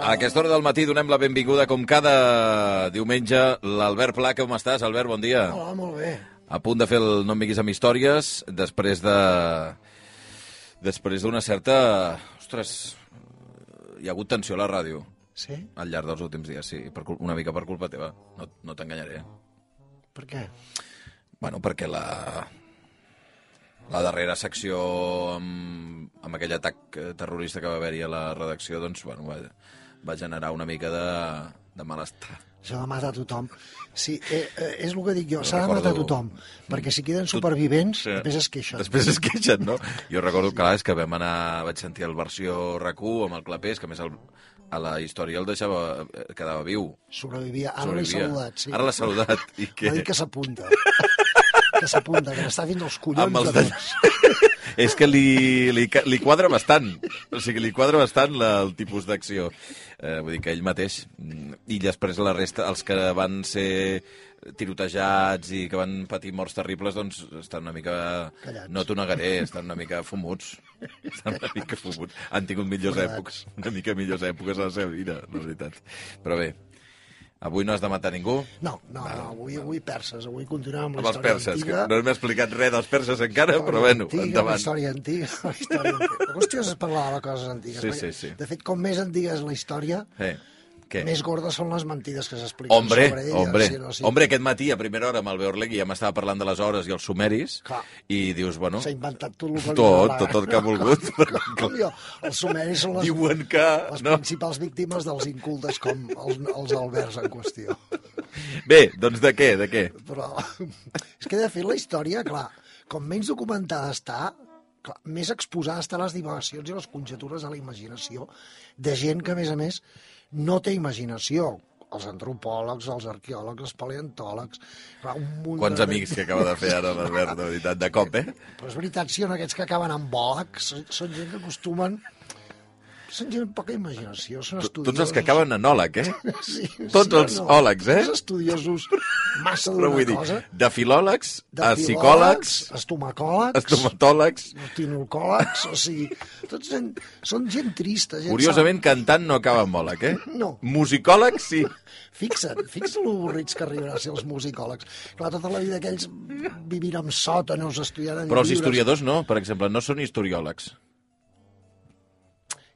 A aquesta hora del matí donem la benvinguda, com cada diumenge, l'Albert Pla. Com estàs, Albert? Bon dia. Hola, molt bé. A punt de fer el No em vinguis amb històries, després de... Després d'una certa... Ostres, hi ha hagut tensió a la ràdio Sí? al llarg dels últims dies, sí. Per, cul- una mica per culpa teva, no, no t'enganyaré. eh? Per què? Bueno, perquè la, la darrera secció amb, amb aquell atac eh, terrorista que va haver-hi a la redacció doncs, bueno, va, va generar una mica de, de malestar. S'ha de matar tothom. Sí, eh, eh, és el que dic jo, Jo s'ha de recordo- matar tothom, perquè si queden supervivents, Sí. després es queixen. Després es queixen, no? Jo recordo, clar, és que vam anar... Vaig sentir el versió rac amb el Clapés, que a més el, a la història el deixava... eh, quedava viu. Sobrevivia. Ara l'he sobrevivia. saludat, sí. Ara l'ha saludat. I M'ha que... dit que s'apunta. que s'apunta, que n'està fins als collons Amb els de de- tots. És que li, li, ca- li quadra bastant. O sigui, li quadra bastant la, el tipus d'acció. Eh, vull dir que ell mateix. mm, I després la resta, els que van ser tirotejats i que van patir morts terribles, doncs estan una mica... Callats. No t'ho negaré, estan una mica fumuts. Estan una mica fumuts. Han tingut millors Bordats. èpoques, una mica millors èpoques a la seva vida, la veritat. Però bé, avui no has de matar ningú. No, no, no, avui, avui perses, avui continuem amb Amb la els història perses, que antiga. no hem explicat res dels perses encara, però bueno, antiga, La endavant. història antiga, la història antiga. Hòstia, es parlava de coses antigues. Sí, perquè, sí, sí. De fet, com més antiga és la història, Eh, què? més gordes són les mentides que s'expliquen Hombre, sobre ella. hombre, sí, no, sí. hombre, aquest matí a primera hora amb el Beorlegui ja m'estava parlant de les hores i els sumeris Clar. i dius, bueno, S'ha inventat tot el que li tot, agrada. tot, tot que ha volgut. però Com jo, els sumeris són les, Diuen que... les No? principals víctimes dels incultes com els, els alberts en qüestió. Bé, doncs de què, de què? Però és que, de fet, la història, clar, com menys documentada està, clar, més exposada està a les divagacions i les conjectures a la imaginació de gent que, a més a més, no té imaginació. Els antropòlegs, els arqueòlegs, els paleontòlegs... Clar, un munt Quants de- amics que acaba de fer ara l'Albert, de veritat, de cop, eh? Però és veritat, sí, en aquests que acaben amb bòleg, són, són gent que acostumen... Són gent amb poca imaginació, són estudiosos... Tots els que acaben enòleg, eh? Sí, tots els òlegs, eh? Són estudiosos massa Però d'una vull dir, cosa... de filòlegs de a psicòlegs, filòlegs, estomacòlegs, estomatòlegs... tinocòlegs, o sigui, tots són, són gent trista. Gent Curiosament, cantant no acaba amb òleg, eh? No. Musicòlegs, sí. Sal... Fixa't, fixa't lo avorrits que arribarà a ser els musicòlegs. Clar, tota la vida aquells vivint en sòtanos, estudiant en Però els llibres... historiadors no, per exemple, no són historiòlegs.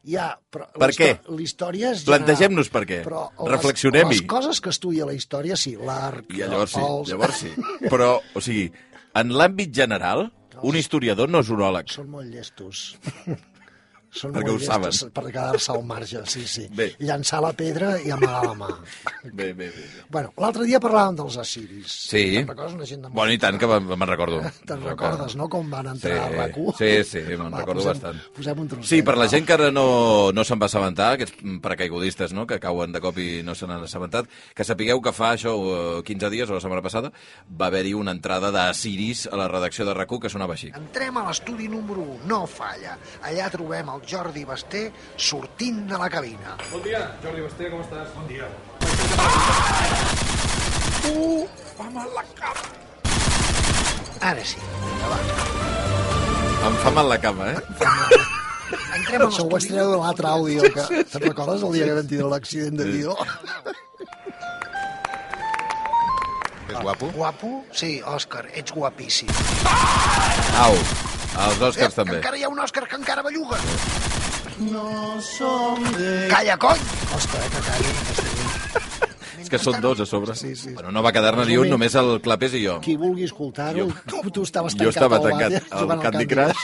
Ja, però Per la histò- què? La història és general. Plategem-nos per què. Però les- Eh, Reflexionem-hi. Les coses que estudia la història, sí, l'art, I llavors sí, els... llavors sí. Però, o sigui, en l'àmbit general, un historiador no és uròleg. Són molt llestos. Són Perquè ho molt llestos saben. per quedar-se al marge, sí, sí. Bé. Llançar la pedra i amagar la mà. Bé, bé, bé. Bueno, l'altre dia parlàvem dels assiris. Sí. Te'n recordes una gent de Bueno, i tant, que me'n me'n recordo. Te'n recordes, no?, com van entrar Sí, a RAC1? sí, sí, me'n Va, recordo posem, bastant. Posem un trosset. Sí, per la va. gent que ara no, no se'n va assabentar, aquests paracaigudistes no? que cauen de cop i no se n'han assabentat, que sapigueu que fa això eh, 15 dies o la setmana passada va haver-hi una entrada de Siris a la redacció de RAC1 que sonava així. Entrem a l'estudi número 1, no falla. Allà trobem el Jordi Basté sortint de la cabina. Bon dia, Jordi Basté, com estàs? Bon dia. Ara sí, endavant. Em fa mal la cama, eh? Entrem a l'estudi. Això ho estreu de l'altre àudio, que te'n recordes el dia que vam tindre l'accident de Dio? És guapo. Guapo? Sí, Òscar, ets guapíssim. Eh, Au, els Òscars Que també. encara hi ha un Òscar que encara belluga. No som de... Calla, cony! Ostres, que calli. És que són dos a sobre. Sí, sí. Bueno, no va quedar-ne ni un, només el Clapés i jo. Qui vulgui escoltar-ho, tu, tu estaves tancat Jo estava al tancat vàter al jugant al Candy Crush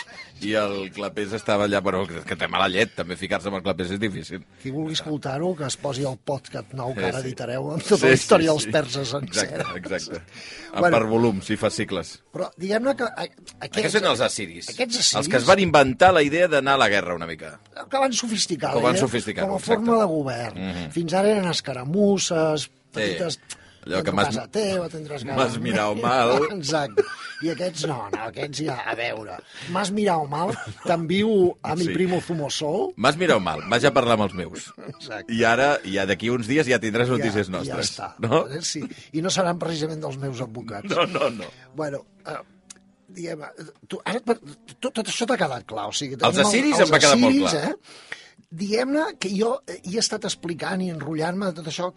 i el Clapés estava allà, però és que té mala llet, també ficar-se amb el Clapés és difícil. Qui vulgui escoltar-ho, que es posi el podcast nou que Sí, ara sí. editareu amb tota la història dels perses sencera. Exacte, exacte. A Bueno. Per volum, si fa cicles. Però diguem-ne que... eh, a- Aquests, Aquests són els assiris. Aquests assiris, Els que es van inventar la idea d'anar a la guerra una mica. que van sofisticar, Que van eh? sofisticar, com a exacte. Mhm. forma de govern. Fins ara eren escaramusses, petites... Allò que a m'has- casa teva, tindràs ganes. m'has mirat meva. mal. Exacte. I aquests no, no, aquests ja, a veure. M'has mirat mal, t'envio a mi Sí. primo Fumosol. M'has mirat mal, vaig a parlar amb els meus. Exacte. I ara, ja d'aquí uns dies, ja tindràs notícies ja, nostres. Ja està. Eh, No? Sí. I no seran precisament dels meus advocats. No, no, no. Bueno, eh, diguem, eh, tu, ara, et per- tot, tot això t'ha quedat clar. O sigui, Els tenim el- assiris els em va quedar molt assiris, clar. Eh? Diguem-ne que jo eh, hi he estat explicant i enrotllant-me de tot això,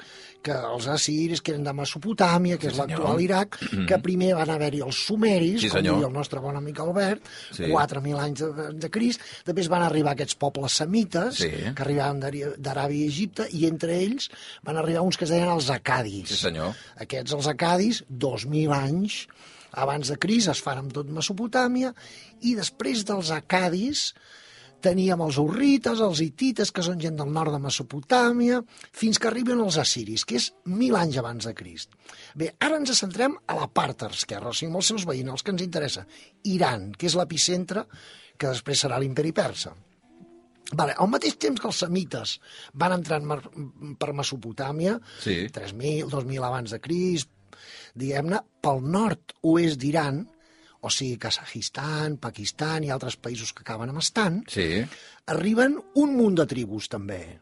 que els assiris, que eren de Mesopotàmia, que és l'actual Iraq, que primer van haver-hi els sumeris, Sí, com senyor. diria el nostre bon amic Albert, Sí. sí. 4.000 anys de, de Crist, després van arribar aquests pobles semites, Sí. que arribaven d'Ari- d'Aràbia i Egipte, i entre ells van arribar uns que es deien els acadis. Sí, senyor. Aquests, els acadis, 2.000 anys abans de Cris, es fan amb tot Mesopotàmia, i després dels acadis teníem els urrites, els hitites, que són gent del nord de Mesopotàmia, fins que arriben els assiris, que és mil anys abans de Crist. Bé, ara ens centrem a la part esquerra, o sigui, amb els seus veïns, els que ens interessa. Iran, que és l'epicentre, que després serà l'imperi persa. Vale, al mateix temps que els semites van entrar en Mar per Mesopotàmia, Sí. 3.000, 2.000 abans de Crist, diguem-ne, pel nord-oest d'Iran, o sigui, Kazajistan, Pakistan i altres països que acaben amb estan, Sí. arriben un munt de tribus, també.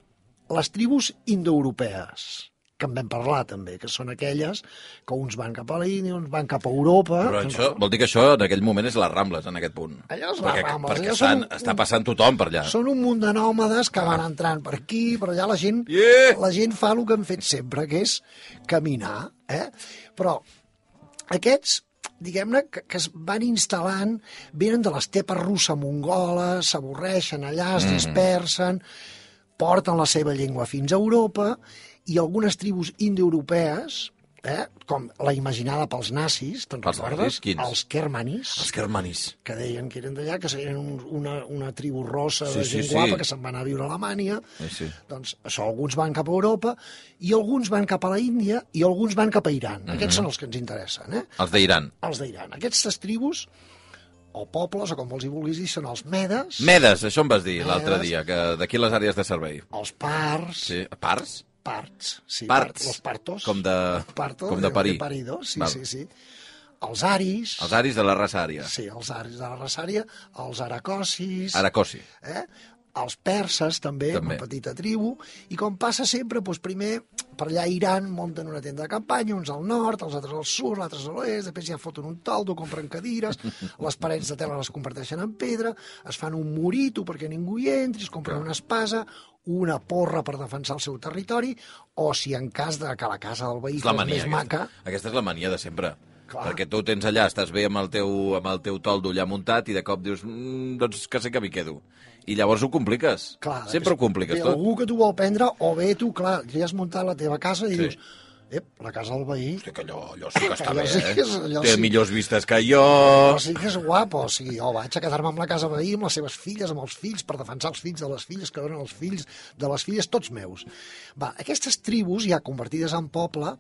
Les tribus indoeuropees, que en vam parlar, també, que són aquelles que uns van cap a l'Índia, uns van cap a Europa... Però això, vol dir que això en aquell moment és les Rambles, en aquest punt. Allò és les perquè, Rambles, Perquè allò estan, són- està passant tothom per allà. Són un munt de nòmades que van entrant per aquí, per allà la gent, Yeah! la gent fa el que han fet sempre, que és caminar. Eh? Però aquests diguem-ne, que, que es van instal·lant, venen de l'estepa russa mongola, s'avorreixen allà, es dispersen, porten la seva llengua fins a Europa, i algunes tribus indoeuropees, eh, com la imaginada pels nazis, te'n Els recordes? nazis, quins? Els kermanis Els germanis. que deien que eren d'allà, que eren un, una, una tribu rossa Sí, de sí, gent sí. guapa que se'n va anar a viure a Alemanya. Sí, sí. Doncs això, alguns van cap a Europa i alguns van cap a la Índia i alguns van cap a Iran. Mhm. Aquests són els que ens interessen, eh? Els d'Iran. Els d'Iran. Aquestes tribus, o pobles, o com els hi vulguis dir, són els medes, Medes, això em vas dir l'altre Medes. dia, que d'aquí les àrees de servei. els pars, Sí. Parts? parts, sí, Parts. els partos, Com de- partos, com de parir. parido, sí, Val. sí, sí. Els aris, Els aris de la raça ària. sí, els aris de la rasària, els aracosis, Aracosi. eh? els perses també, També. també, una petita tribu, i com passa sempre, doncs primer per allà a Iran munten una tenda de campanya, uns al nord, els altres al sud, altres a l'oest, després ja foten un taldo, compren cadires, les parets de tela les converteixen en pedra, es fan un murito perquè ningú hi entri, es compren una espasa, una porra per defensar el seu territori, o si en cas de que la casa del veí És la és mania, més aquesta. maca, Aquesta és la mania de sempre. Clar. Perquè tu tens allà, estàs bé amb el teu, amb el teu toldo allà muntat i de cop dius, mmm, doncs que sé que m'hi quedo. I llavors ho compliques. Clar, sempre ho compliques ve tot. algú que t'ho vol prendre, o bé tu, clar, ja has muntat la teva casa i Sí. sí. dius, ep, la casa del veí, Hosti, que allò, allò sí que està Allò bé, sí eh? que és- allò Té sí. millors vistes que jo... Però sí que és guapo, o sigui, jo vaig a quedar-me amb la casa veí, amb les seves filles, amb els fills, per defensar els fills de les filles, que donen els fills de les filles, tots meus. Va, aquestes tribus, ja convertides en poble,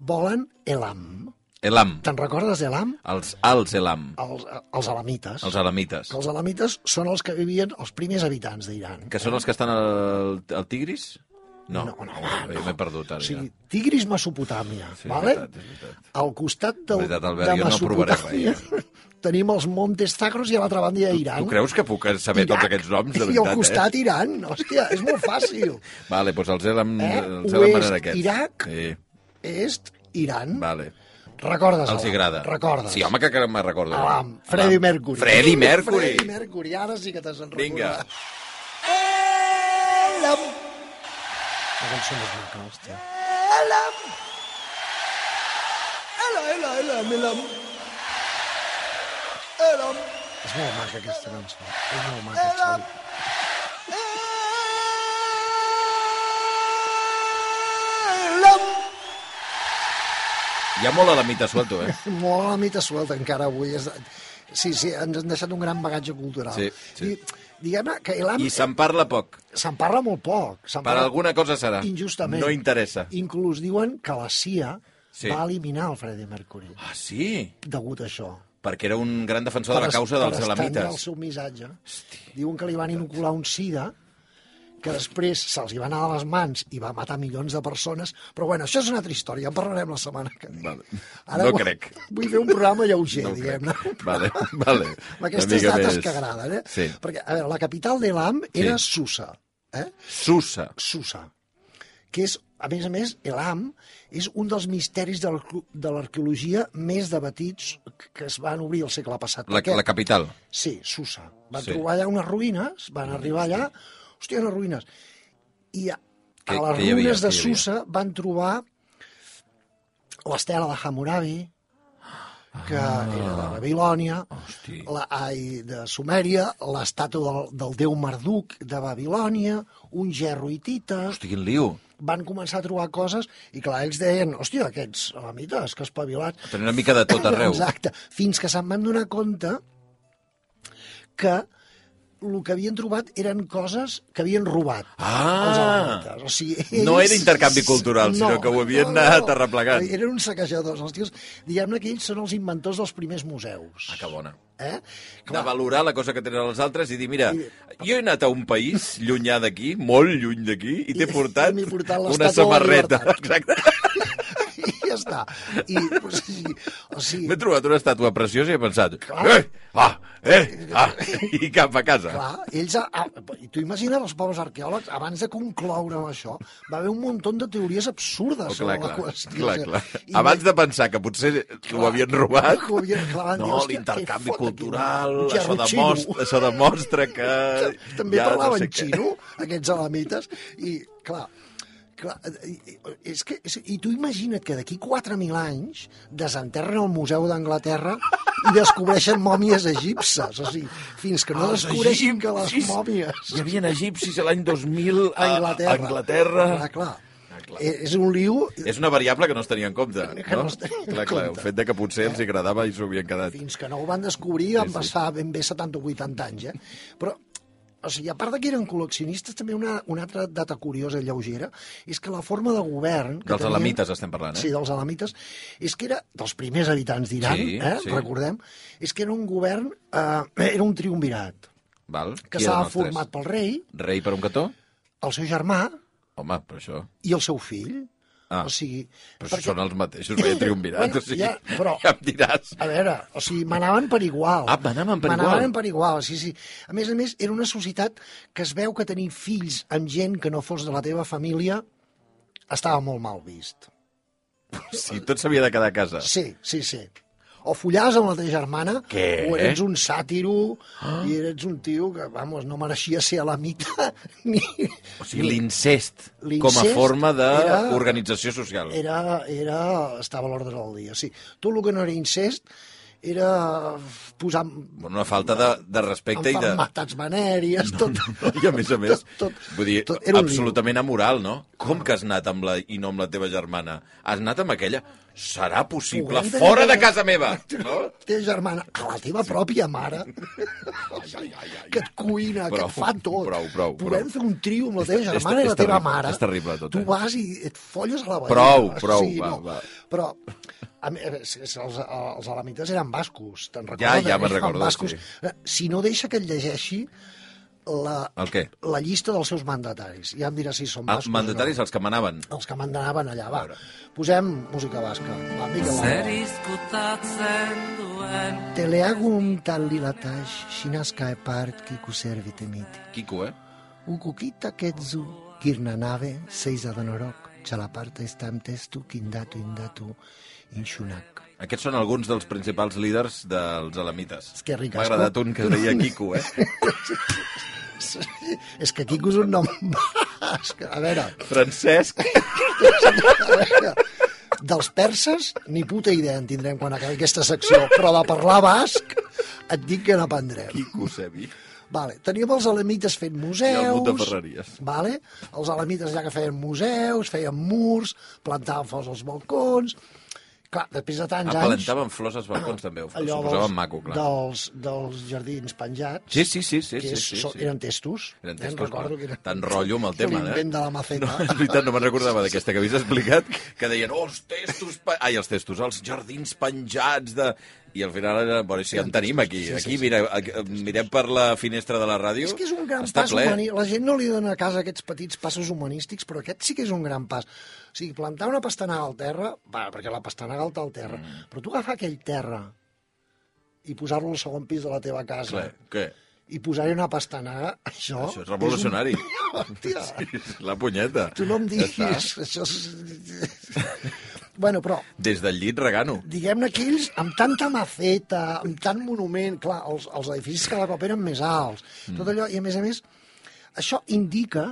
volen Elam. Elam. Te'n recordes d'Elam? Els als Elam. Els, els alamites. Els alamites. Que els alamites són els que vivien, els primers habitants d'Iran. Que són els que estan al, al Tigris? No, No, no, home, jo m'he perdut O ara. sigui, ja. Tigris Mesopotàmia, Sí, és vale? veritat, és veritat. Al costat de, Veritat, Albert, de jo no provaré res, Mesopotàmia tenim els Montes Sacros i a l'altra banda hi ha Iran. Tu creus que puc saber Iraq. tots aquests noms, de I veritat, al costat Iran, hòstia, és molt fàcil. eh? Vale, doncs els Elam, Eh? els Elam Oest, eren aquests. Iraq. Sí, Est, Iran, vale. recordes? Els Alan? agrada. Recordes? Sí, home, que, que me recordo. Alan, Freddie Alan. Mercury. Freddie Mercury. Freddie Mercury, ara sí que t'has enrecordat. Vinga. Elam. La cançó més maca, hòstia. Elam. Elam, elam, elam, elam. Elam. És molt maca aquesta cançó. És molt maca, Xavi. Hi ha molt alamita suelto, eh? Molt a la mita suelta encara avui. És... Sí, sí, ens han deixat un gran bagatge cultural. Sí, sí. I, diguem-ne que Elam I se'n parla poc. se'n parla molt poc. Se'n Per alguna cosa serà. Injustament. No interessa. Inclús diuen que la CIA Sí. sí. va eliminar el Freddie Mercury Ah, sí? degut a això. Perquè era un gran defensor de la es- causa dels per estendre el alamites. seu missatge. Diuen que li van inocular un sida que després se'ls hi va anar de les mans i va matar milions de persones, però bueno, això és una altra història, en parlarem la setmana que ve. Vale. No vull- crec. Vull fer un programa lleuger, No ho crec. diguem-ne. Vale, vale. Amb Una aquestes mica dates més. que agraden, eh? Sí. Perquè, a veure, la capital d'Elam era Sí. Susa, eh? Susa. Susa, que és, a més a més, Elam és un dels misteris de l'arqueo- de l'arqueologia més debatits que es van obrir el segle passat. La, Per què? la capital. Sí, Susa. Van Sí. sí. trobar allà unes ruïnes, van arribar allà, hòstia, unes ruïnes. I a, Què- a les què hi havia? ruïnes de Què hi havia? Susa van trobar l'estela de Hammurabi, que era de Babilònia, Ah. Hosti. la, ai, de Sumèria, l'estàtua del, del déu Marduk de Babilònia, un gerro hitita Hosti, quin lío. van començar a trobar coses i clar, ells deien, hòstia, aquests elamites, que espavilats, Tenen una mica de tot arreu. Exacte. Fins que se'n van donar compte que el que havien trobat eren coses que havien robat Ah! els elamites. O sigui, No era intercanvi cultural, sinó que ho havien anat arreplegant. Eren uns saquejadors. Els tios, diguem-ne que ells són els inventors dels primers museus. Ah, que bona. Eh? De valorar la cosa que tenen els altres i dir, mira, I- jo he anat a un país llunyà d'aquí, molt lluny d'aquí, i t'he I- portat, i m'he portat una l'estàtua de la samarreta. Exacte. llibertat. I ja està. I, o sigui, o sigui, M'he trobat una estàtua preciosa i he pensat, Clar. eh, ah, eh, ah, i cap a casa. Clar, ells... A, a, i tu imagines els pobres arqueòlegs, abans de concloure amb això, va haver un munt de teories absurdes Oh, sobre clar, la clar, qüestió. clar, clar. I Abans de pensar que potser ho havien robat, Ho havien, clar, van dir, no, "Hòstia, què l'intercanvi fot aquí, cultural, un això gerro demostra, xino?" això demostra que... També ja no parlaven sé què. xino, aquests elamites, i clar, clar i, i- és que, és, i tu imagina't que d'aquí 4.000 anys desenterren el Museu d'Anglaterra i descobreixen mòmies egipces, o sigui, fins que no Ah, Els descobreixin que les egipcis. Ah, mòmies... Hi havia egipcis l'any 2000 a Anglaterra. Clar, clar. Eh, És un liu És una variable que no es tenia en compte, Que no? no es tenia en clar, clar, el compte. fet de que potser els agradava i s'ho havien quedat. fins que no ho van descobrir van sí. passar ben bé 70 o 80 anys, eh? Però, o sigui, a part de que eren col·leccionistes, també una, una altra data curiosa i lleugera és que la forma de govern... Que Dels elamites estem parlant, eh? Sí, dels alamites, és que era dels primers habitants d'Iran, Sí, eh? sí. recordem, és que era un govern, eh, era un triumvirat, Val? que Qui eren s'ha els tres? format pel rei, Rei per un cantó? el seu germà Home, però això... i el seu fill. Ah. O sigui, Però perquè... són els mateixos, veia triomvirat, Bueno, o sigui, ja, ja, però- ja em diràs. A veure, o sigui, manaven per igual. Ah, manaven per igual. Manaven per igual, sí, sí. A més a més, era una societat que es veu que tenir fills amb gent que no fos de la teva família estava molt mal vist. Si tot s'havia de quedar a casa. Sí, sí, sí. O follaves amb la teva germana, Què? o eres un sàtiro, ah. i eres un tio que, vamos, no mereixia ser a la mita, ni... O sigui, l'incest L'incest com a forma era- d'organització social. Era, era... Estava a l'ordre del dia, sí. Tot el que no era incest era posar... Bueno, una falta de, de respecte i de... Matats venèries, tot... No, no, I a més a més, Tot- tot- vull dir, tot era un absolutament amoral, no? Com que has anat amb la i no amb la teva germana? Has anat amb aquella? Serà possible, Podem tenir fora de que- casa meva! No? teva germana, a la teva pròpia mare, que et cuina, que Prou, et fa tot. prou, prou, Podem prou. fer un trio amb la teva És- germana és- i és la teva terrible, mare. és terrible tot, eh? Tu vas i et folles a la veïna. Prou, prou, va, va. Però, a mi- a veure, si- si els, els alamites eren bascos, te'n recordes? ja me'n Eren recordo, bascos. sí. Eh, Si no deixa que et llegeixi la, El què? la llista dels seus mandataris. Ja em dirà si són Els bascos. o no. Ah, mandataris, els que manaven. Els que mandanaven allà, va. Posem música basca. Va, vinga, va. Zer izkutatzen duen Teleagum talilatash shinaska e epart kiku servite miti. Quico, eh? Ukukita ketzu kirnanave seiza donorok chalaparta estam testu kindatu indatu inshunak. Aquests són alguns dels principals líders dels alamites. És que ric, M'ha eh? agradat un que deia Quico, eh? És que Quico és un nom... És que, a veure, Francesc. a veure, dels perses ni puta idea en tindrem quan acabi aquesta secció, però de parlar basc et dic que n'aprendrem. Quico, Sebi. Vale. Teníem els alamites fent museus... I el mut de Ferreries. Vale? Els alamites ja que feien museus, feien murs, plantaven flors als balcons... Clar, després de tants Ah, anys... plantaven flors als balcons, també. Ho, allò ho posaven maco, clar. Dels, dels jardins penjats, Sí, sí, sí, sí, que sí, és, sí, són- sí. eren testos. Eren Em textos, recordo clar. que eren- Tant rotllo amb el que tema, eh? L'invent de la maceta. No, és veritat, no me'n recordava d'aquesta que havies explicat, que deien, oh, els testos... pe- Ai, els testos, els jardins penjats de... I al final, era, bueno, si en tenim aquí. Sí, sí, Aquí, sí. mira, aquí, mirem per la finestra de la ràdio. És que és un gran Està pas ple. humani. La gent no li dona a casa aquests petits passos humanístics, però aquest sí que és un gran pas. O sigui, plantar una pastanaga al terra, va, perquè la pastanaga alta al terra, Mm. però tu agafar aquell terra i posar-lo al segon pis de la teva casa Clar, què? i posar-hi una pastanaga, això... Això és revolucionari. És un... Hòstia, És La punyeta. tu no em Ja diguis. està. Això és... bueno, però Des del llit regano. diguem-ne que ells, amb tanta maceta, amb tant monument, clar, els, els edificis cada cop eren més alts, mm. tot allò, i a més a més, això indica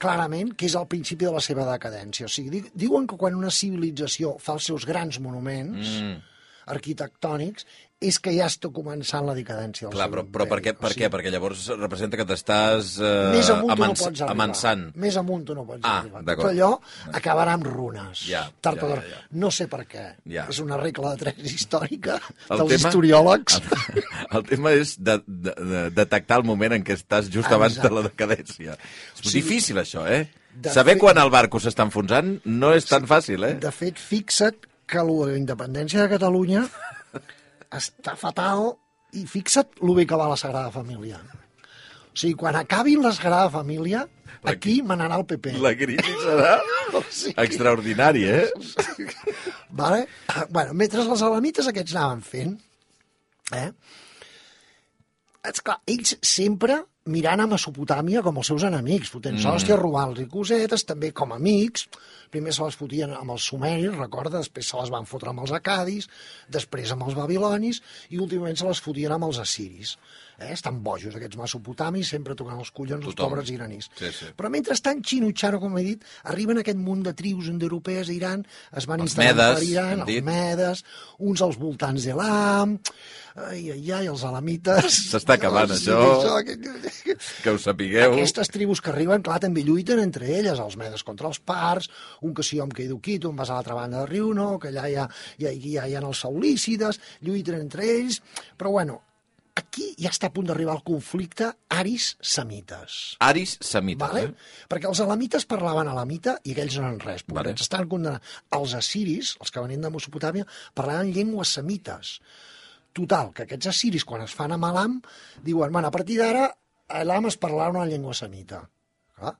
clarament que és el principi de la seva decadència. O sigui, di- diuen que quan una civilització fa els seus grans monuments mm. arquitectònics és que ja està començant la decadència del Clar, seu però, però per, què, imperi. O per sigui, què? Perquè llavors representa que t'estàs eh, Més amunt tu no amans- pots arribar. amansant. Més amunt tu no pots Ah, arribar. Tot d'acord. allò acabarà amb runes. Ja, tard ja, o ja, d'hora. ja. No sé per què. Ja. És una regla de tres històrica El dels tema- Ah. historiòlegs. El, el tema és de, de, de detectar el moment en què estàs just Exacte. abans de la decadència. És sigui, difícil, això, eh? de Saber fet- quan el barco s'està enfonsant no és tan fàcil, eh? De fet, fixa't que la independència de Catalunya està fatal i fixa't lo bé que va la Sagrada Família. O sigui, quan acabin la Sagrada Família, La- aquí manarà el PP. La crisi serà O sigui, extraordinària, eh? Vale? Ah, Bueno, mentre els alamites aquests anaven fent, eh? Esclar, ells sempre mirant a Mesopotàmia com els seus enemics, fotent-se mm. hòsties, robant-los i cosetes, també com amics. Primer se les fotien amb els sumeris, recorda, després se les van fotre amb els acadis, després amb els babilonis i últimament se les fotien amb els assiris. Eh? Estan bojos aquests mesopotamis, sempre tocant els collons els Tothom. pobres iranis. Sí, sí. Però mentrestant, Xino i Xaro, com he dit, arriben aquest munt de tribus indoeuropees a Iran, es van Els instal·lar medes, per Iran, hem dit. els medes, uns als voltants d'Elam, ai, ai, ai, els alamites... S'està acabant, Sí, això. això. Que ho sapigueu. Aquestes tribus que arriben, clar, també lluiten entre elles, els medes contra els parts, un que sí, home, que hi duquito, un vas a l'altra banda del riu, no, que allà hi ha, hi ha, hi ha, hi ha els saulícides, lluiten entre ells, però bueno, aquí ja està a punt d'arribar el conflicte aris-semites. Aris semites, Vale? vale. eh? Perquè els alamites parlaven alamita i aquells no eren res. Vale. Estan condemnant. Els assiris, els que venien de Mesopotàmia, parlaven llengües semites. Total, que aquests assiris, quan es fan amb Elam, diuen, bueno, a partir d'ara, a Elam es parlarà una llengua semita. Clar,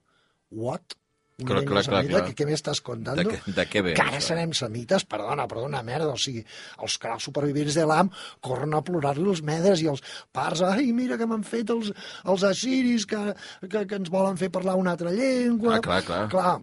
what? Una Clar, llengua clar, clar, semita? clar. Que, què m'estàs contant? De què- de què ve, Que ara això? serem semites? Perdona, perdona, merda. O sigui, els que els supervivents d'Elam corren a plorar-li els medes i els parts. Ai, mira que m'han fet els, els assiris que, que, que ens volen fer parlar una altra llengua. Ah, clar, clar. clar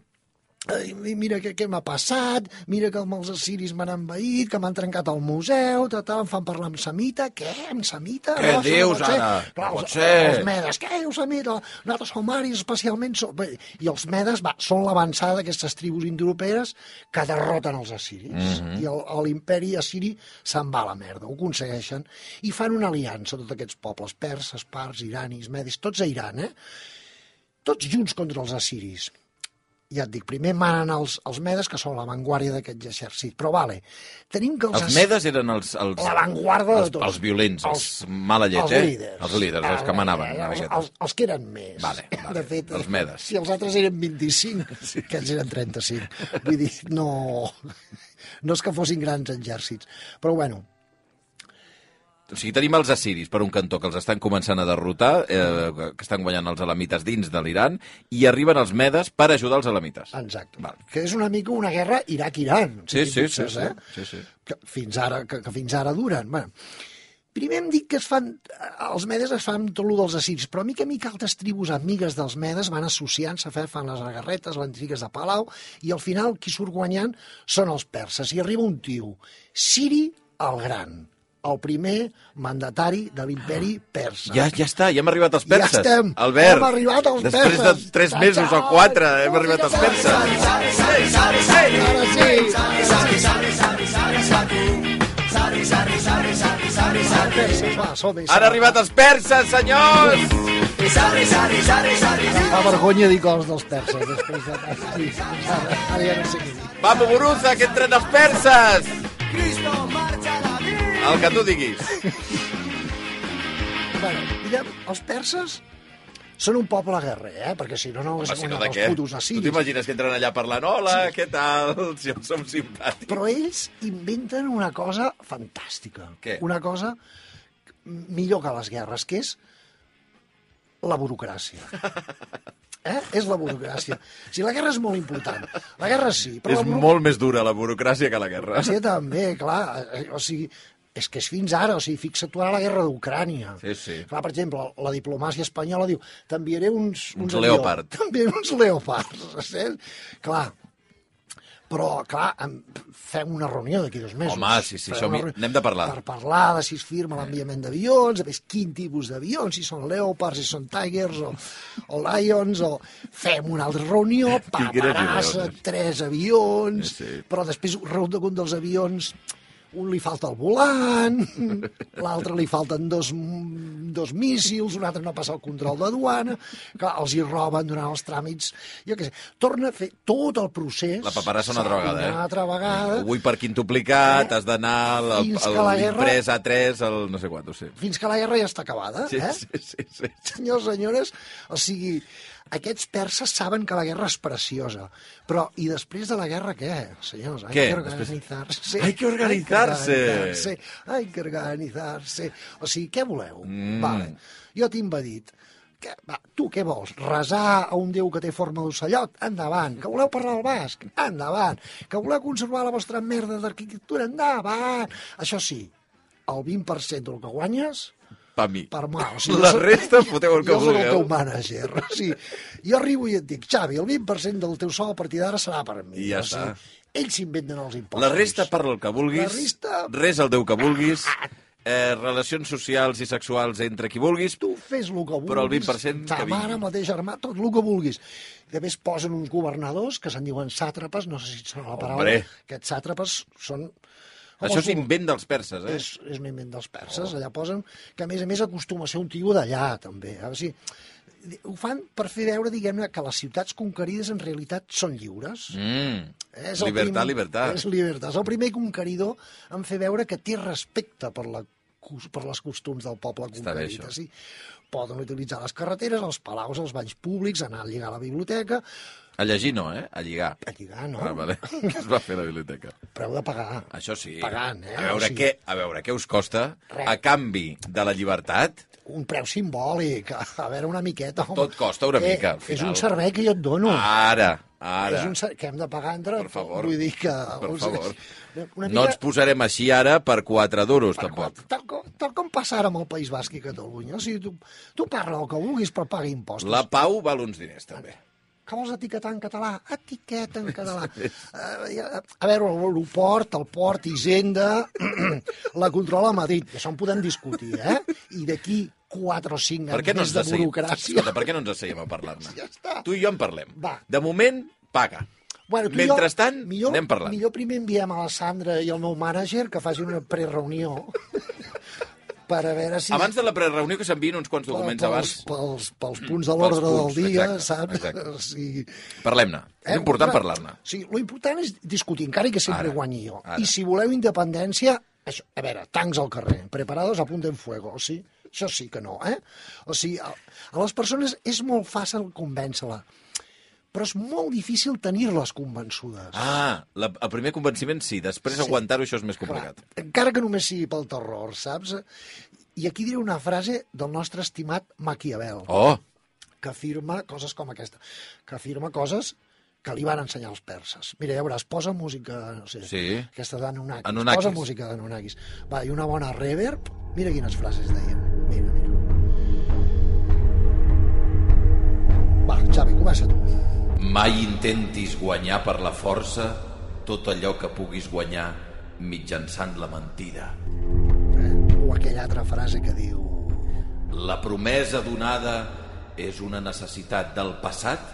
Ai, mi- mira què, què m'ha passat, mira que els assiris m'han envaït, que m'han trencat el museu, ta, ta, em fan parlar amb Samita, què, amb Samita? Què això dius, pot ser. ara? Clar, No pot els, ser. els medes, què, dius, Samita? Nosaltres som aris, especialment... Som... Bé, I els medes va, són l'avançada d'aquestes tribus indoeuropees que derroten els assiris. Mhm. I el- a l'imperi assiri se'n va a la merda, ho aconsegueixen. I fan una aliança, tots aquests pobles, perses, parts, iranis, medis, tots a Iran, eh? Tots junts contra els assiris ja et dic, primer manen els, els medes, que són l'avantguàrdia d'aquest exèrcit. Però vale, tenim que els... Els medes eren els... els L'avantguarda de els- tots. Els violents, els, Els- mala llet, els eh? líders. Ah, eh, Els líders, els que manaven. una els, miqueta. els, els que eren més. Vale, vale, De fet, els medes. Si els altres eren 25, sí. aquests eren 35. Vull dir, no... No és que fossin grans exèrcits. Però bueno, O sigui, tenim els assiris, per un cantó, que els estan començant a derrotar, eh, que estan guanyant els alamites dins de l'Iran, i arriben els medes per ajudar els alamites. Exacte. Val. Que és una mica una guerra Iraq-Iran. Sí, si sí, t'hi fixes, sí, sí, sí, sí. eh? Que fins ara, que, que fins ara duren. Bueno, primer hem dit que es fan, eh, els medes es fan tot lo dels assiris, però a mica a mica altres tribus amigues dels medes van associant-se, fe- fan les agarretes, les intrigues de Palau, i al final qui surt guanyant són els perses. I arriba un tio, Siri el Gran, el primer mandatari de l'imperi Ah. persa. Ja, ja està, ja hem arribat als perses. Ja estem. Albert, Hem arribat als després perses. de 3 mesos o 4 hem arribat als perses. Ara sí. Va, som-hi, som-hi. Han arribat els perses, senyors! Em Fa vergonya dir coses dels perses després de... Ah, Sí, ara, ara ja no sé què dir. Vamos, Buruza, que entren els perses! El que tu diguis. Bueno, mirem, els perses Són un poble guerrer, eh? Perquè si no, no Home, haguessin si Ah, no, guanyat de els què? putos Tu assiris. t'imagines que entren allà parlant hola, què tal, si em som simpàtics? Però ells inventen una cosa fantàstica. Què? Una cosa millor que les guerres, que és la burocràcia. Eh? És la burocràcia. O sigui, la guerra és molt important. La guerra sí, però És la burocràcia... molt més dura la burocràcia que la guerra. Rússia també, clar. eh, O sigui, és que és fins ara, o sigui, fixa't tu ara la guerra d'Ucrània. Sí, sí. Clar, per exemple, la diplomàcia espanyola diu t'enviaré uns... Uns avions." Leopard. T'enviaré uns leopards, saps? Clar, però, clar, em- fem una reunió d'aquí dos mesos. Home, sí, sí, Fem això una mi- reunió n'hem de parlar. Per parlar de si es firma l'enviament d'avions, a més, quin tipus d'avions, si són Leopards, si són Tigers o, o Lions, o fem una altra reunió, Quin- quines paperassa, idees. tres avions, Sí, sí. però després resulta que un dels avions un li falta el volant, l'altre li falten dos, dos míssils, un altre no passa el control de duana, que els hi roben durant els tràmits, jo què sé. Torna a fer tot el procés... La paperassa una altra vegada, eh? Una altra vegada, Avui per quintuplicat has d'anar al- Eh? Fins que al- a la guerra- l'imprès A3, al no sé quant, ho sé. fins que la guerra ja està acabada, Sí, eh? sí, sí, sí. senyors, senyores, o sigui, aquests perses saben que la guerra és preciosa, però i després de la guerra què, senyors? Hay Què? que organitzar-se. Hay que organitzar-se. Hay que organitzar-se. Hay que organitzar-se. O sigui, què voleu? Mm. Vale. Jo t'he invadit. Que, va, tu què vols? Resar a un déu que té forma d'ocellot? Endavant. Que voleu parlar el basc? Endavant. Que voleu conservar la vostra merda d'arquitectura? Endavant. Això sí, el 20% del que guanyes Pa mi. per mà. O La jo soc- resta foteu el que jo soc el vulgueu. teu mànager. O sigui, jo arribo i et dic, Xavi, el 20% del teu sou a partir d'ara serà per mi. I ja o sigui, ells s'inventen els impostos. La resta parla el que vulguis, La resta- res el Déu que vulguis, eh, relacions socials i sexuals entre qui vulguis, Tu fes el que vulguis. Però el 20% Ta que vingui. mare, el teu germà, tot el que vulguis. I Després posen uns governadors que se'n diuen sàtrapes, no sé si et sona la paraula. Hombre. Aquests sàtrapes són... com Això els és invent dels perses, eh? és, és un invent dels perses, allà posen, que a més a més acostuma a ser un tio d'allà, també. Eh? O sigui, di- ho fan per fer veure, diguem-ne, que les ciutats conquerides en realitat són lliures. Mm. Eh, Libertad, libertad. És libertat. És el primer conqueridor en fer veure que té respecte per la cus- per les costums del poble Està bé, conquerit. això. Sí. Poden utilitzar les carreteres, els palaus, els banys públics, anar a lligar a la biblioteca, A llegir no, eh? A lligar. a lligar, no? Ah, vale. Que es va fer a la biblioteca. Preu de pagar. Això sí. Pagant, eh? A veure, O sigui- què, a veure què us costa Res. a canvi de la llibertat. un preu simbòlic, a veure una miqueta. Home. Eh, Tot costa una mica, al És final. un servei que jo et dono. Ara, ara. És un servei que hem de pagar entre... Per favor. Vull dir que... Per o sigui, favor. Una No mica... ens posarem així ara per 4 duros, tampoc. Tal, com, tal com passa ara amb el País Basc i Catalunya. O sigui, tu, tu parla el que vulguis, però paga impostos. La pau val uns diners, també. Que vols etiquetar en català? Etiqueta en català. Eh, a veure, l'aeroport, el port, Hisenda, la controla a Madrid. Això en podem discutir, eh? I d'aquí 4 o 5 Per anys què no ens més de asseiem? burocràcia. Escolta, per què no ens asseiem a parlar-ne? Ja està. Tu i jo en parlem. Va. De moment, paga. Bueno, tu i Mentrestant, anem parlant. Millor primer enviem a la Sandra i al meu mànager que facin una prereunió per a veure si... Abans de la prereunió que s'envien uns Oh, quants documents abans, Mm, pels, pels, pels punts de l'ordre punts, del dia, exacte, saps? exacte. O sigui, parlem-ne. És Eh, important una- parlar-ne. Sí, lo important és discutir, encara que sempre Ara, guanyi jo. ara. I si voleu independència, això, a veure, tancs al carrer, preparados, apunten fuego, o sigui, això sí que no, eh? O sigui, a, a les persones és molt fàcil convèncer-la, però és molt difícil tenir-les convençudes. Ah, la, el primer convenciment sí, després Sí. aguantar-ho això és més complicat. Clar, encara que només sigui pel terror, saps? I aquí diré una frase del nostre estimat Maquiavel, Oh, que afirma coses com aquesta, que afirma coses que li van ensenyar els perses. Mira, ja veuràs, posa música, no sé, Sí. aquesta d'Anunnakis, Anunnakis. posa música d'Anunnakis. Va, i una bona reverb, mira quines frases deien. Mira, mira. Va, Xavi, comença tu. eh? Mai intentis guanyar per la força tot allò que puguis guanyar mitjançant la mentida. Eh? O aquella altra frase que diu... La promesa donada és una necessitat del passat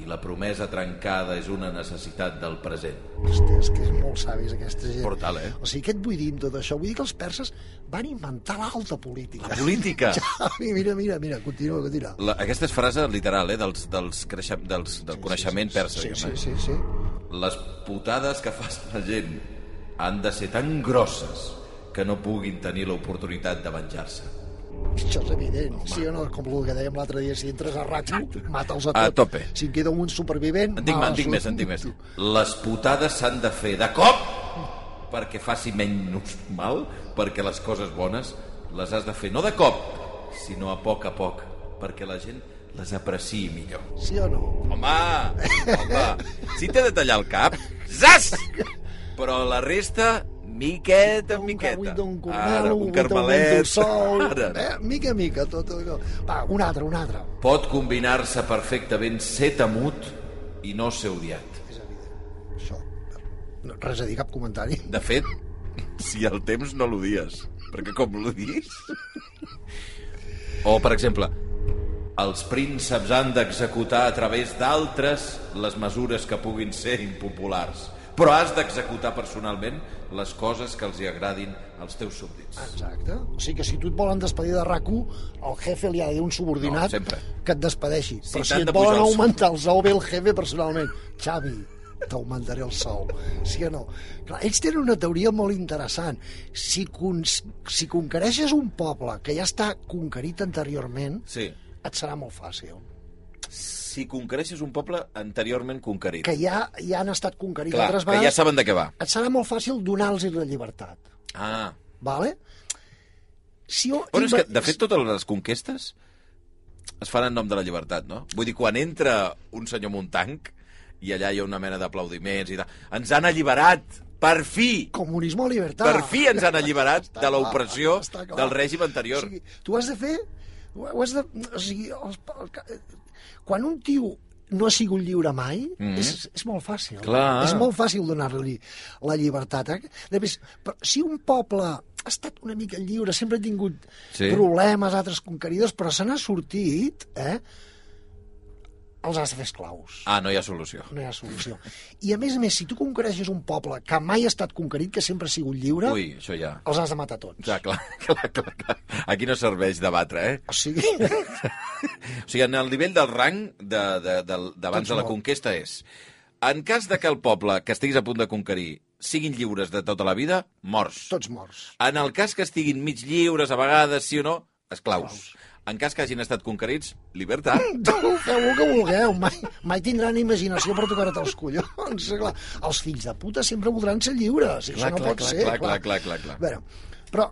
i la promesa trencada és una necessitat del present. Hòstia, és que és molt savis aquesta gent. Brutal, eh? O sigui, què et vull dir amb tot això? Vull dir que els perses van inventar l'alta política. la política! Xavi, mira, mira, mira, continua, continua. La, aquesta és frase literal, eh, dels, dels creixa, dels, del coneixement persa, Sí, sí, diguem-ne. sí, sí. Les putades que fas la gent han de ser tan grosses que no puguin tenir l'oportunitat de venjar-se. Això és evident, Home. sí o no? Com el que dèiem l'altre dia, si entres a ràdio, mata'ls a, A tot. tope. Si en queda un supervivent... En tinc, mal en tinc més, en tinc més. Les putades s'han de fer de cop perquè faci menys mal, perquè les coses bones les has de fer no de cop, sinó a poc a poc, perquè la gent les apreciï millor. Sí o no? Home, home, si t'he de tallar el cap, zas! Però la resta, miqueta en miqueta. Un d'un Ara, cornel, un un carmelet. carmelet, un sol, Ara, ara. eh? mica a mica, tot allò. Va, un altre, un altre. Pot combinar-se perfectament ser temut i no ser odiat. És evident. Això, no, res a dir, cap comentari. De fet, si el temps no l'odies, perquè com l'odies... O, per exemple, els prínceps han d'executar a través d'altres les mesures que puguin ser impopulars, però has d'executar personalment les coses que els hi agradin als teus súbdits. Ah. Exacte. O sigui que si tu et volen despedir de rac el jefe li ha de dir a un No, subordinat sempre. que et despedeixi. Si t'han Però si et de volen pujar el sou. augmentar el sou, ve el jefe personalment. Xavi, t'augmentaré el sou. Sí o no? Clar, ells tenen una teoria molt interessant. Si, con si conquereixes un poble que ja està conquerit anteriorment, Sí. et serà molt fàcil. Si conquereixes un poble anteriorment conquerit, Que ja, ja han estat conquerits clar, altres que ja vegades, saben de què va. et serà molt fàcil donar-los la llibertat. Ah. Vale? Si jo... Bueno, és que, de fet, totes les conquestes es fan en nom de la llibertat, no? Vull dir, quan entra un senyor amb un tanc i allà hi ha una mena d'aplaudiments i tal, ens han alliberat, per fi! Comunisme o libertat. Per fi ens han alliberat Està de clar, l'opressió està clar. del règim anterior. O sigui, tu has de fer... Ho has de, o sigui, els, el, quan un tio no ha sigut lliure mai, mm -hmm. és, és molt fàcil. Clar. És molt fàcil donar-li la llibertat. Eh? De més, però si un poble ha estat una mica lliure, sempre ha tingut Sí. sí. problemes, altres conqueridors, però se n'ha sortit, eh? els has de fer esclaus Ah, no hi ha solució. no hi ha solució. I a més a més, si tu conquereixes un poble que mai ha estat conquerit, que sempre ha sigut lliure, Ui, això ja... els has de matar tots. Ja, clar, clar, clar, clar. Aquí no serveix debatre, eh? O sigui, O sigui, en el nivell del rang de- de- del- d'abans Tots de, de la no. conquesta és... En cas de que el poble que estiguis a punt de conquerir siguin lliures de tota la vida, morts. tots morts. En el cas que estiguin mig lliures, a vegades, sí o no, esclaus. En cas que hagin estat conquerits, libertat. Tu feu el que vulgueu, mai, mai tindran imaginació per tocar-te els collons. Clar, els fills de puta sempre voldran ser lliures, i Clar, això no clar, pot clar, ser. clar, clar, clar, clar, clar. Bueno, però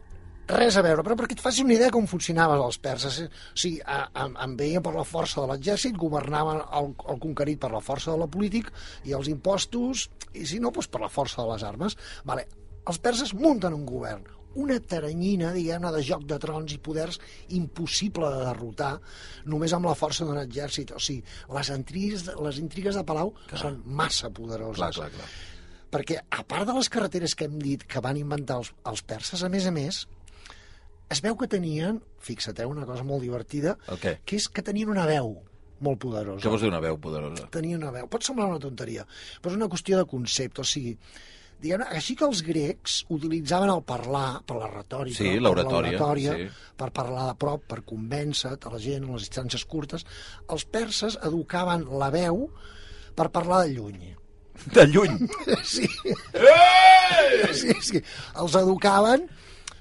res a veure, però perquè et facis una idea com funcionaven els perses. eh? O sigui, a, a, em veien per la força de l'exèrcit, governaven el, el conquerit per la força de la política i els impostos, i si no, doncs per la força de les armes. Vale. Els perses munten un govern, una taranyina, diguem-ne, de joc de trons i poders impossible de derrotar només amb la força d'un exèrcit. O sigui, les intrigues, les intrigues de Palau són massa poderoses Clar, clar, clar. perquè a part de les carreteres que hem dit que van inventar els, els perses, a més a més, es veu que tenien, fixa't, eh, una cosa molt divertida, El què? que és que tenien una veu molt poderosa. Què vols dir una veu poderosa? Tenien una veu. Pot semblar una tonteria, però és una qüestió de concepte, o sigui, diguem així que els grecs utilitzaven el parlar per la retòrica, Sí, per l'oratòria, l'oratòria, sí. per parlar de prop, per convèncer-te a la gent a les distàncies curtes, els perses educaven la veu per parlar de lluny. De lluny. Sí. sí, sí. Els educaven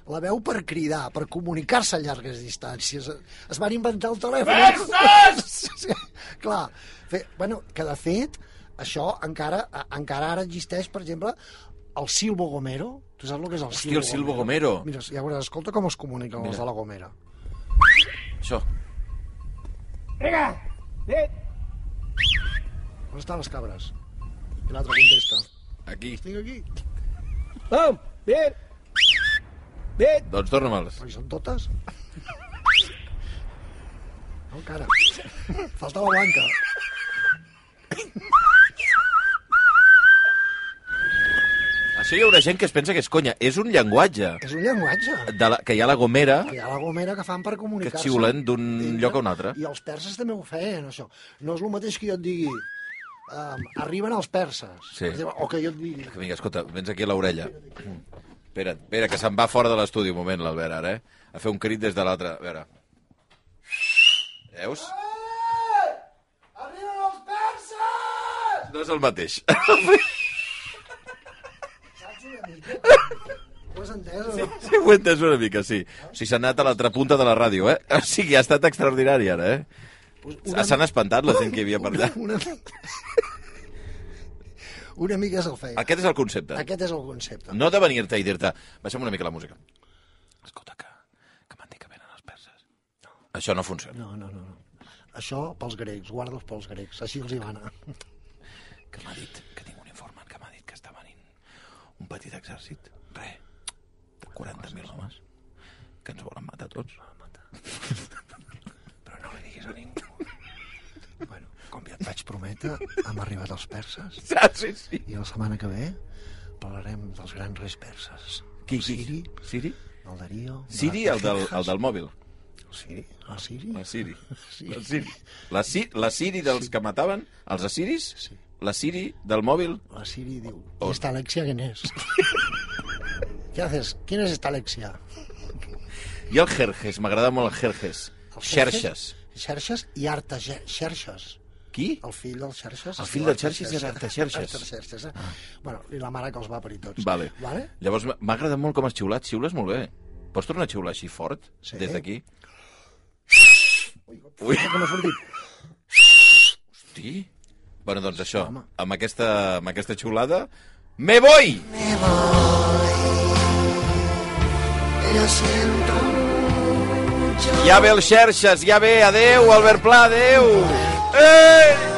la veu per cridar, per comunicar-se a llargues distàncies. Es van inventar el telèfon. Sí, sí. Clar, fe... bueno, que de fet, això encara, a- encara ara existeix, per exemple, el Silvo Gomero. Tu saps el que és el Hòstia, el Silvo Gomero. Mira, ja veuràs, escolta com es comuniquen els de la Gomera. Això. On estan les cabres? I l'altre contesta. Aquí. Tinc aquí. Doncs torna-me'ls. Però hi són totes? No, encara. Falta la blanca. Això Ah, hi haurà gent que es pensa que és conya. És un llenguatge És un llenguatge. de la, que hi ha la Gomera Hi ha la gomera que fan per comunicar-se. xiulen d'un Dintre. lloc a un altre. I els perses també ho feien, això. No és el mateix que jo et digui... Um, arriben els perses. Sí. O que jo et digui... Que Vinga, escolta, vens aquí a l'orella. Espera, espera, que se'n va fora de l'estudi un moment, l'Albert, ara, eh? A fer un crit des de l'altre. A veure. Veus? "Eh, Arriben els perses! No és el mateix. Saps una mica? ho has entès o no? Sí, ho he entès una mica, sí. O sigui, s'ha anat a l'altra punta de la ràdio, eh? O sigui, ha estat extraordinari, ara, eh? Una- S'han espantat la gent que hi havia per allà. Una, una mica se'l feia. Aquest és el concepte. Aquest és el concepte. No de venir-te i dir-te, baixa'm una mica la música. Escolta, que, que m'han dit que venen els perses. Això no funciona. No, no, no. no. Això pels grecs, guarda'ls pels grecs, així els hi va anar. Que m'ha dit, que tinc un informant que m'ha dit que està venint un petit exèrcit, re, de 40.000 homes, que ens volen matar tots. Però no li diguis a ningú. Bueno, com ja et vaig prometre, hem arribat als perses Saps? Ah, Sí, sí. i la setmana que ve parlarem dels grans reis perses. Qui, Siri, qui? Siri? el Darío... Siri, el del, el del mòbil. El Siri? El Siri? La Siri. Sí. La Siri. La, si, la Siri dels que mataven, els assiris? Sí. La Siri del mòbil? La Siri diu, ¿y esta Alexia quién es? ¿Qué haces? ¿Quién es esta Alexia? I el Jerjes, m'agrada molt el Jerjes. El Xerxes. Xerxes i Arta Ge- Xerxes. Qui? El fill del Xerxes. El fill del Xerxes era Artaxerxes. Artaxerxes. eh? Bueno, i la mare que els va parir tots. Vale. vale? Llavors, m'ha- m'ha agradat molt com has xiulat. Xiules molt bé. Pots tornar a xiular així fort? Sí. Des d'aquí? Ui. Com ha sortit? Hosti. Bueno, doncs això, home. amb aquesta, amb aquesta xiulada... Me voy! Lo siento. Ja ve el Xerxes, ja ve. Adeu, Albert Pla, adeu! Eh!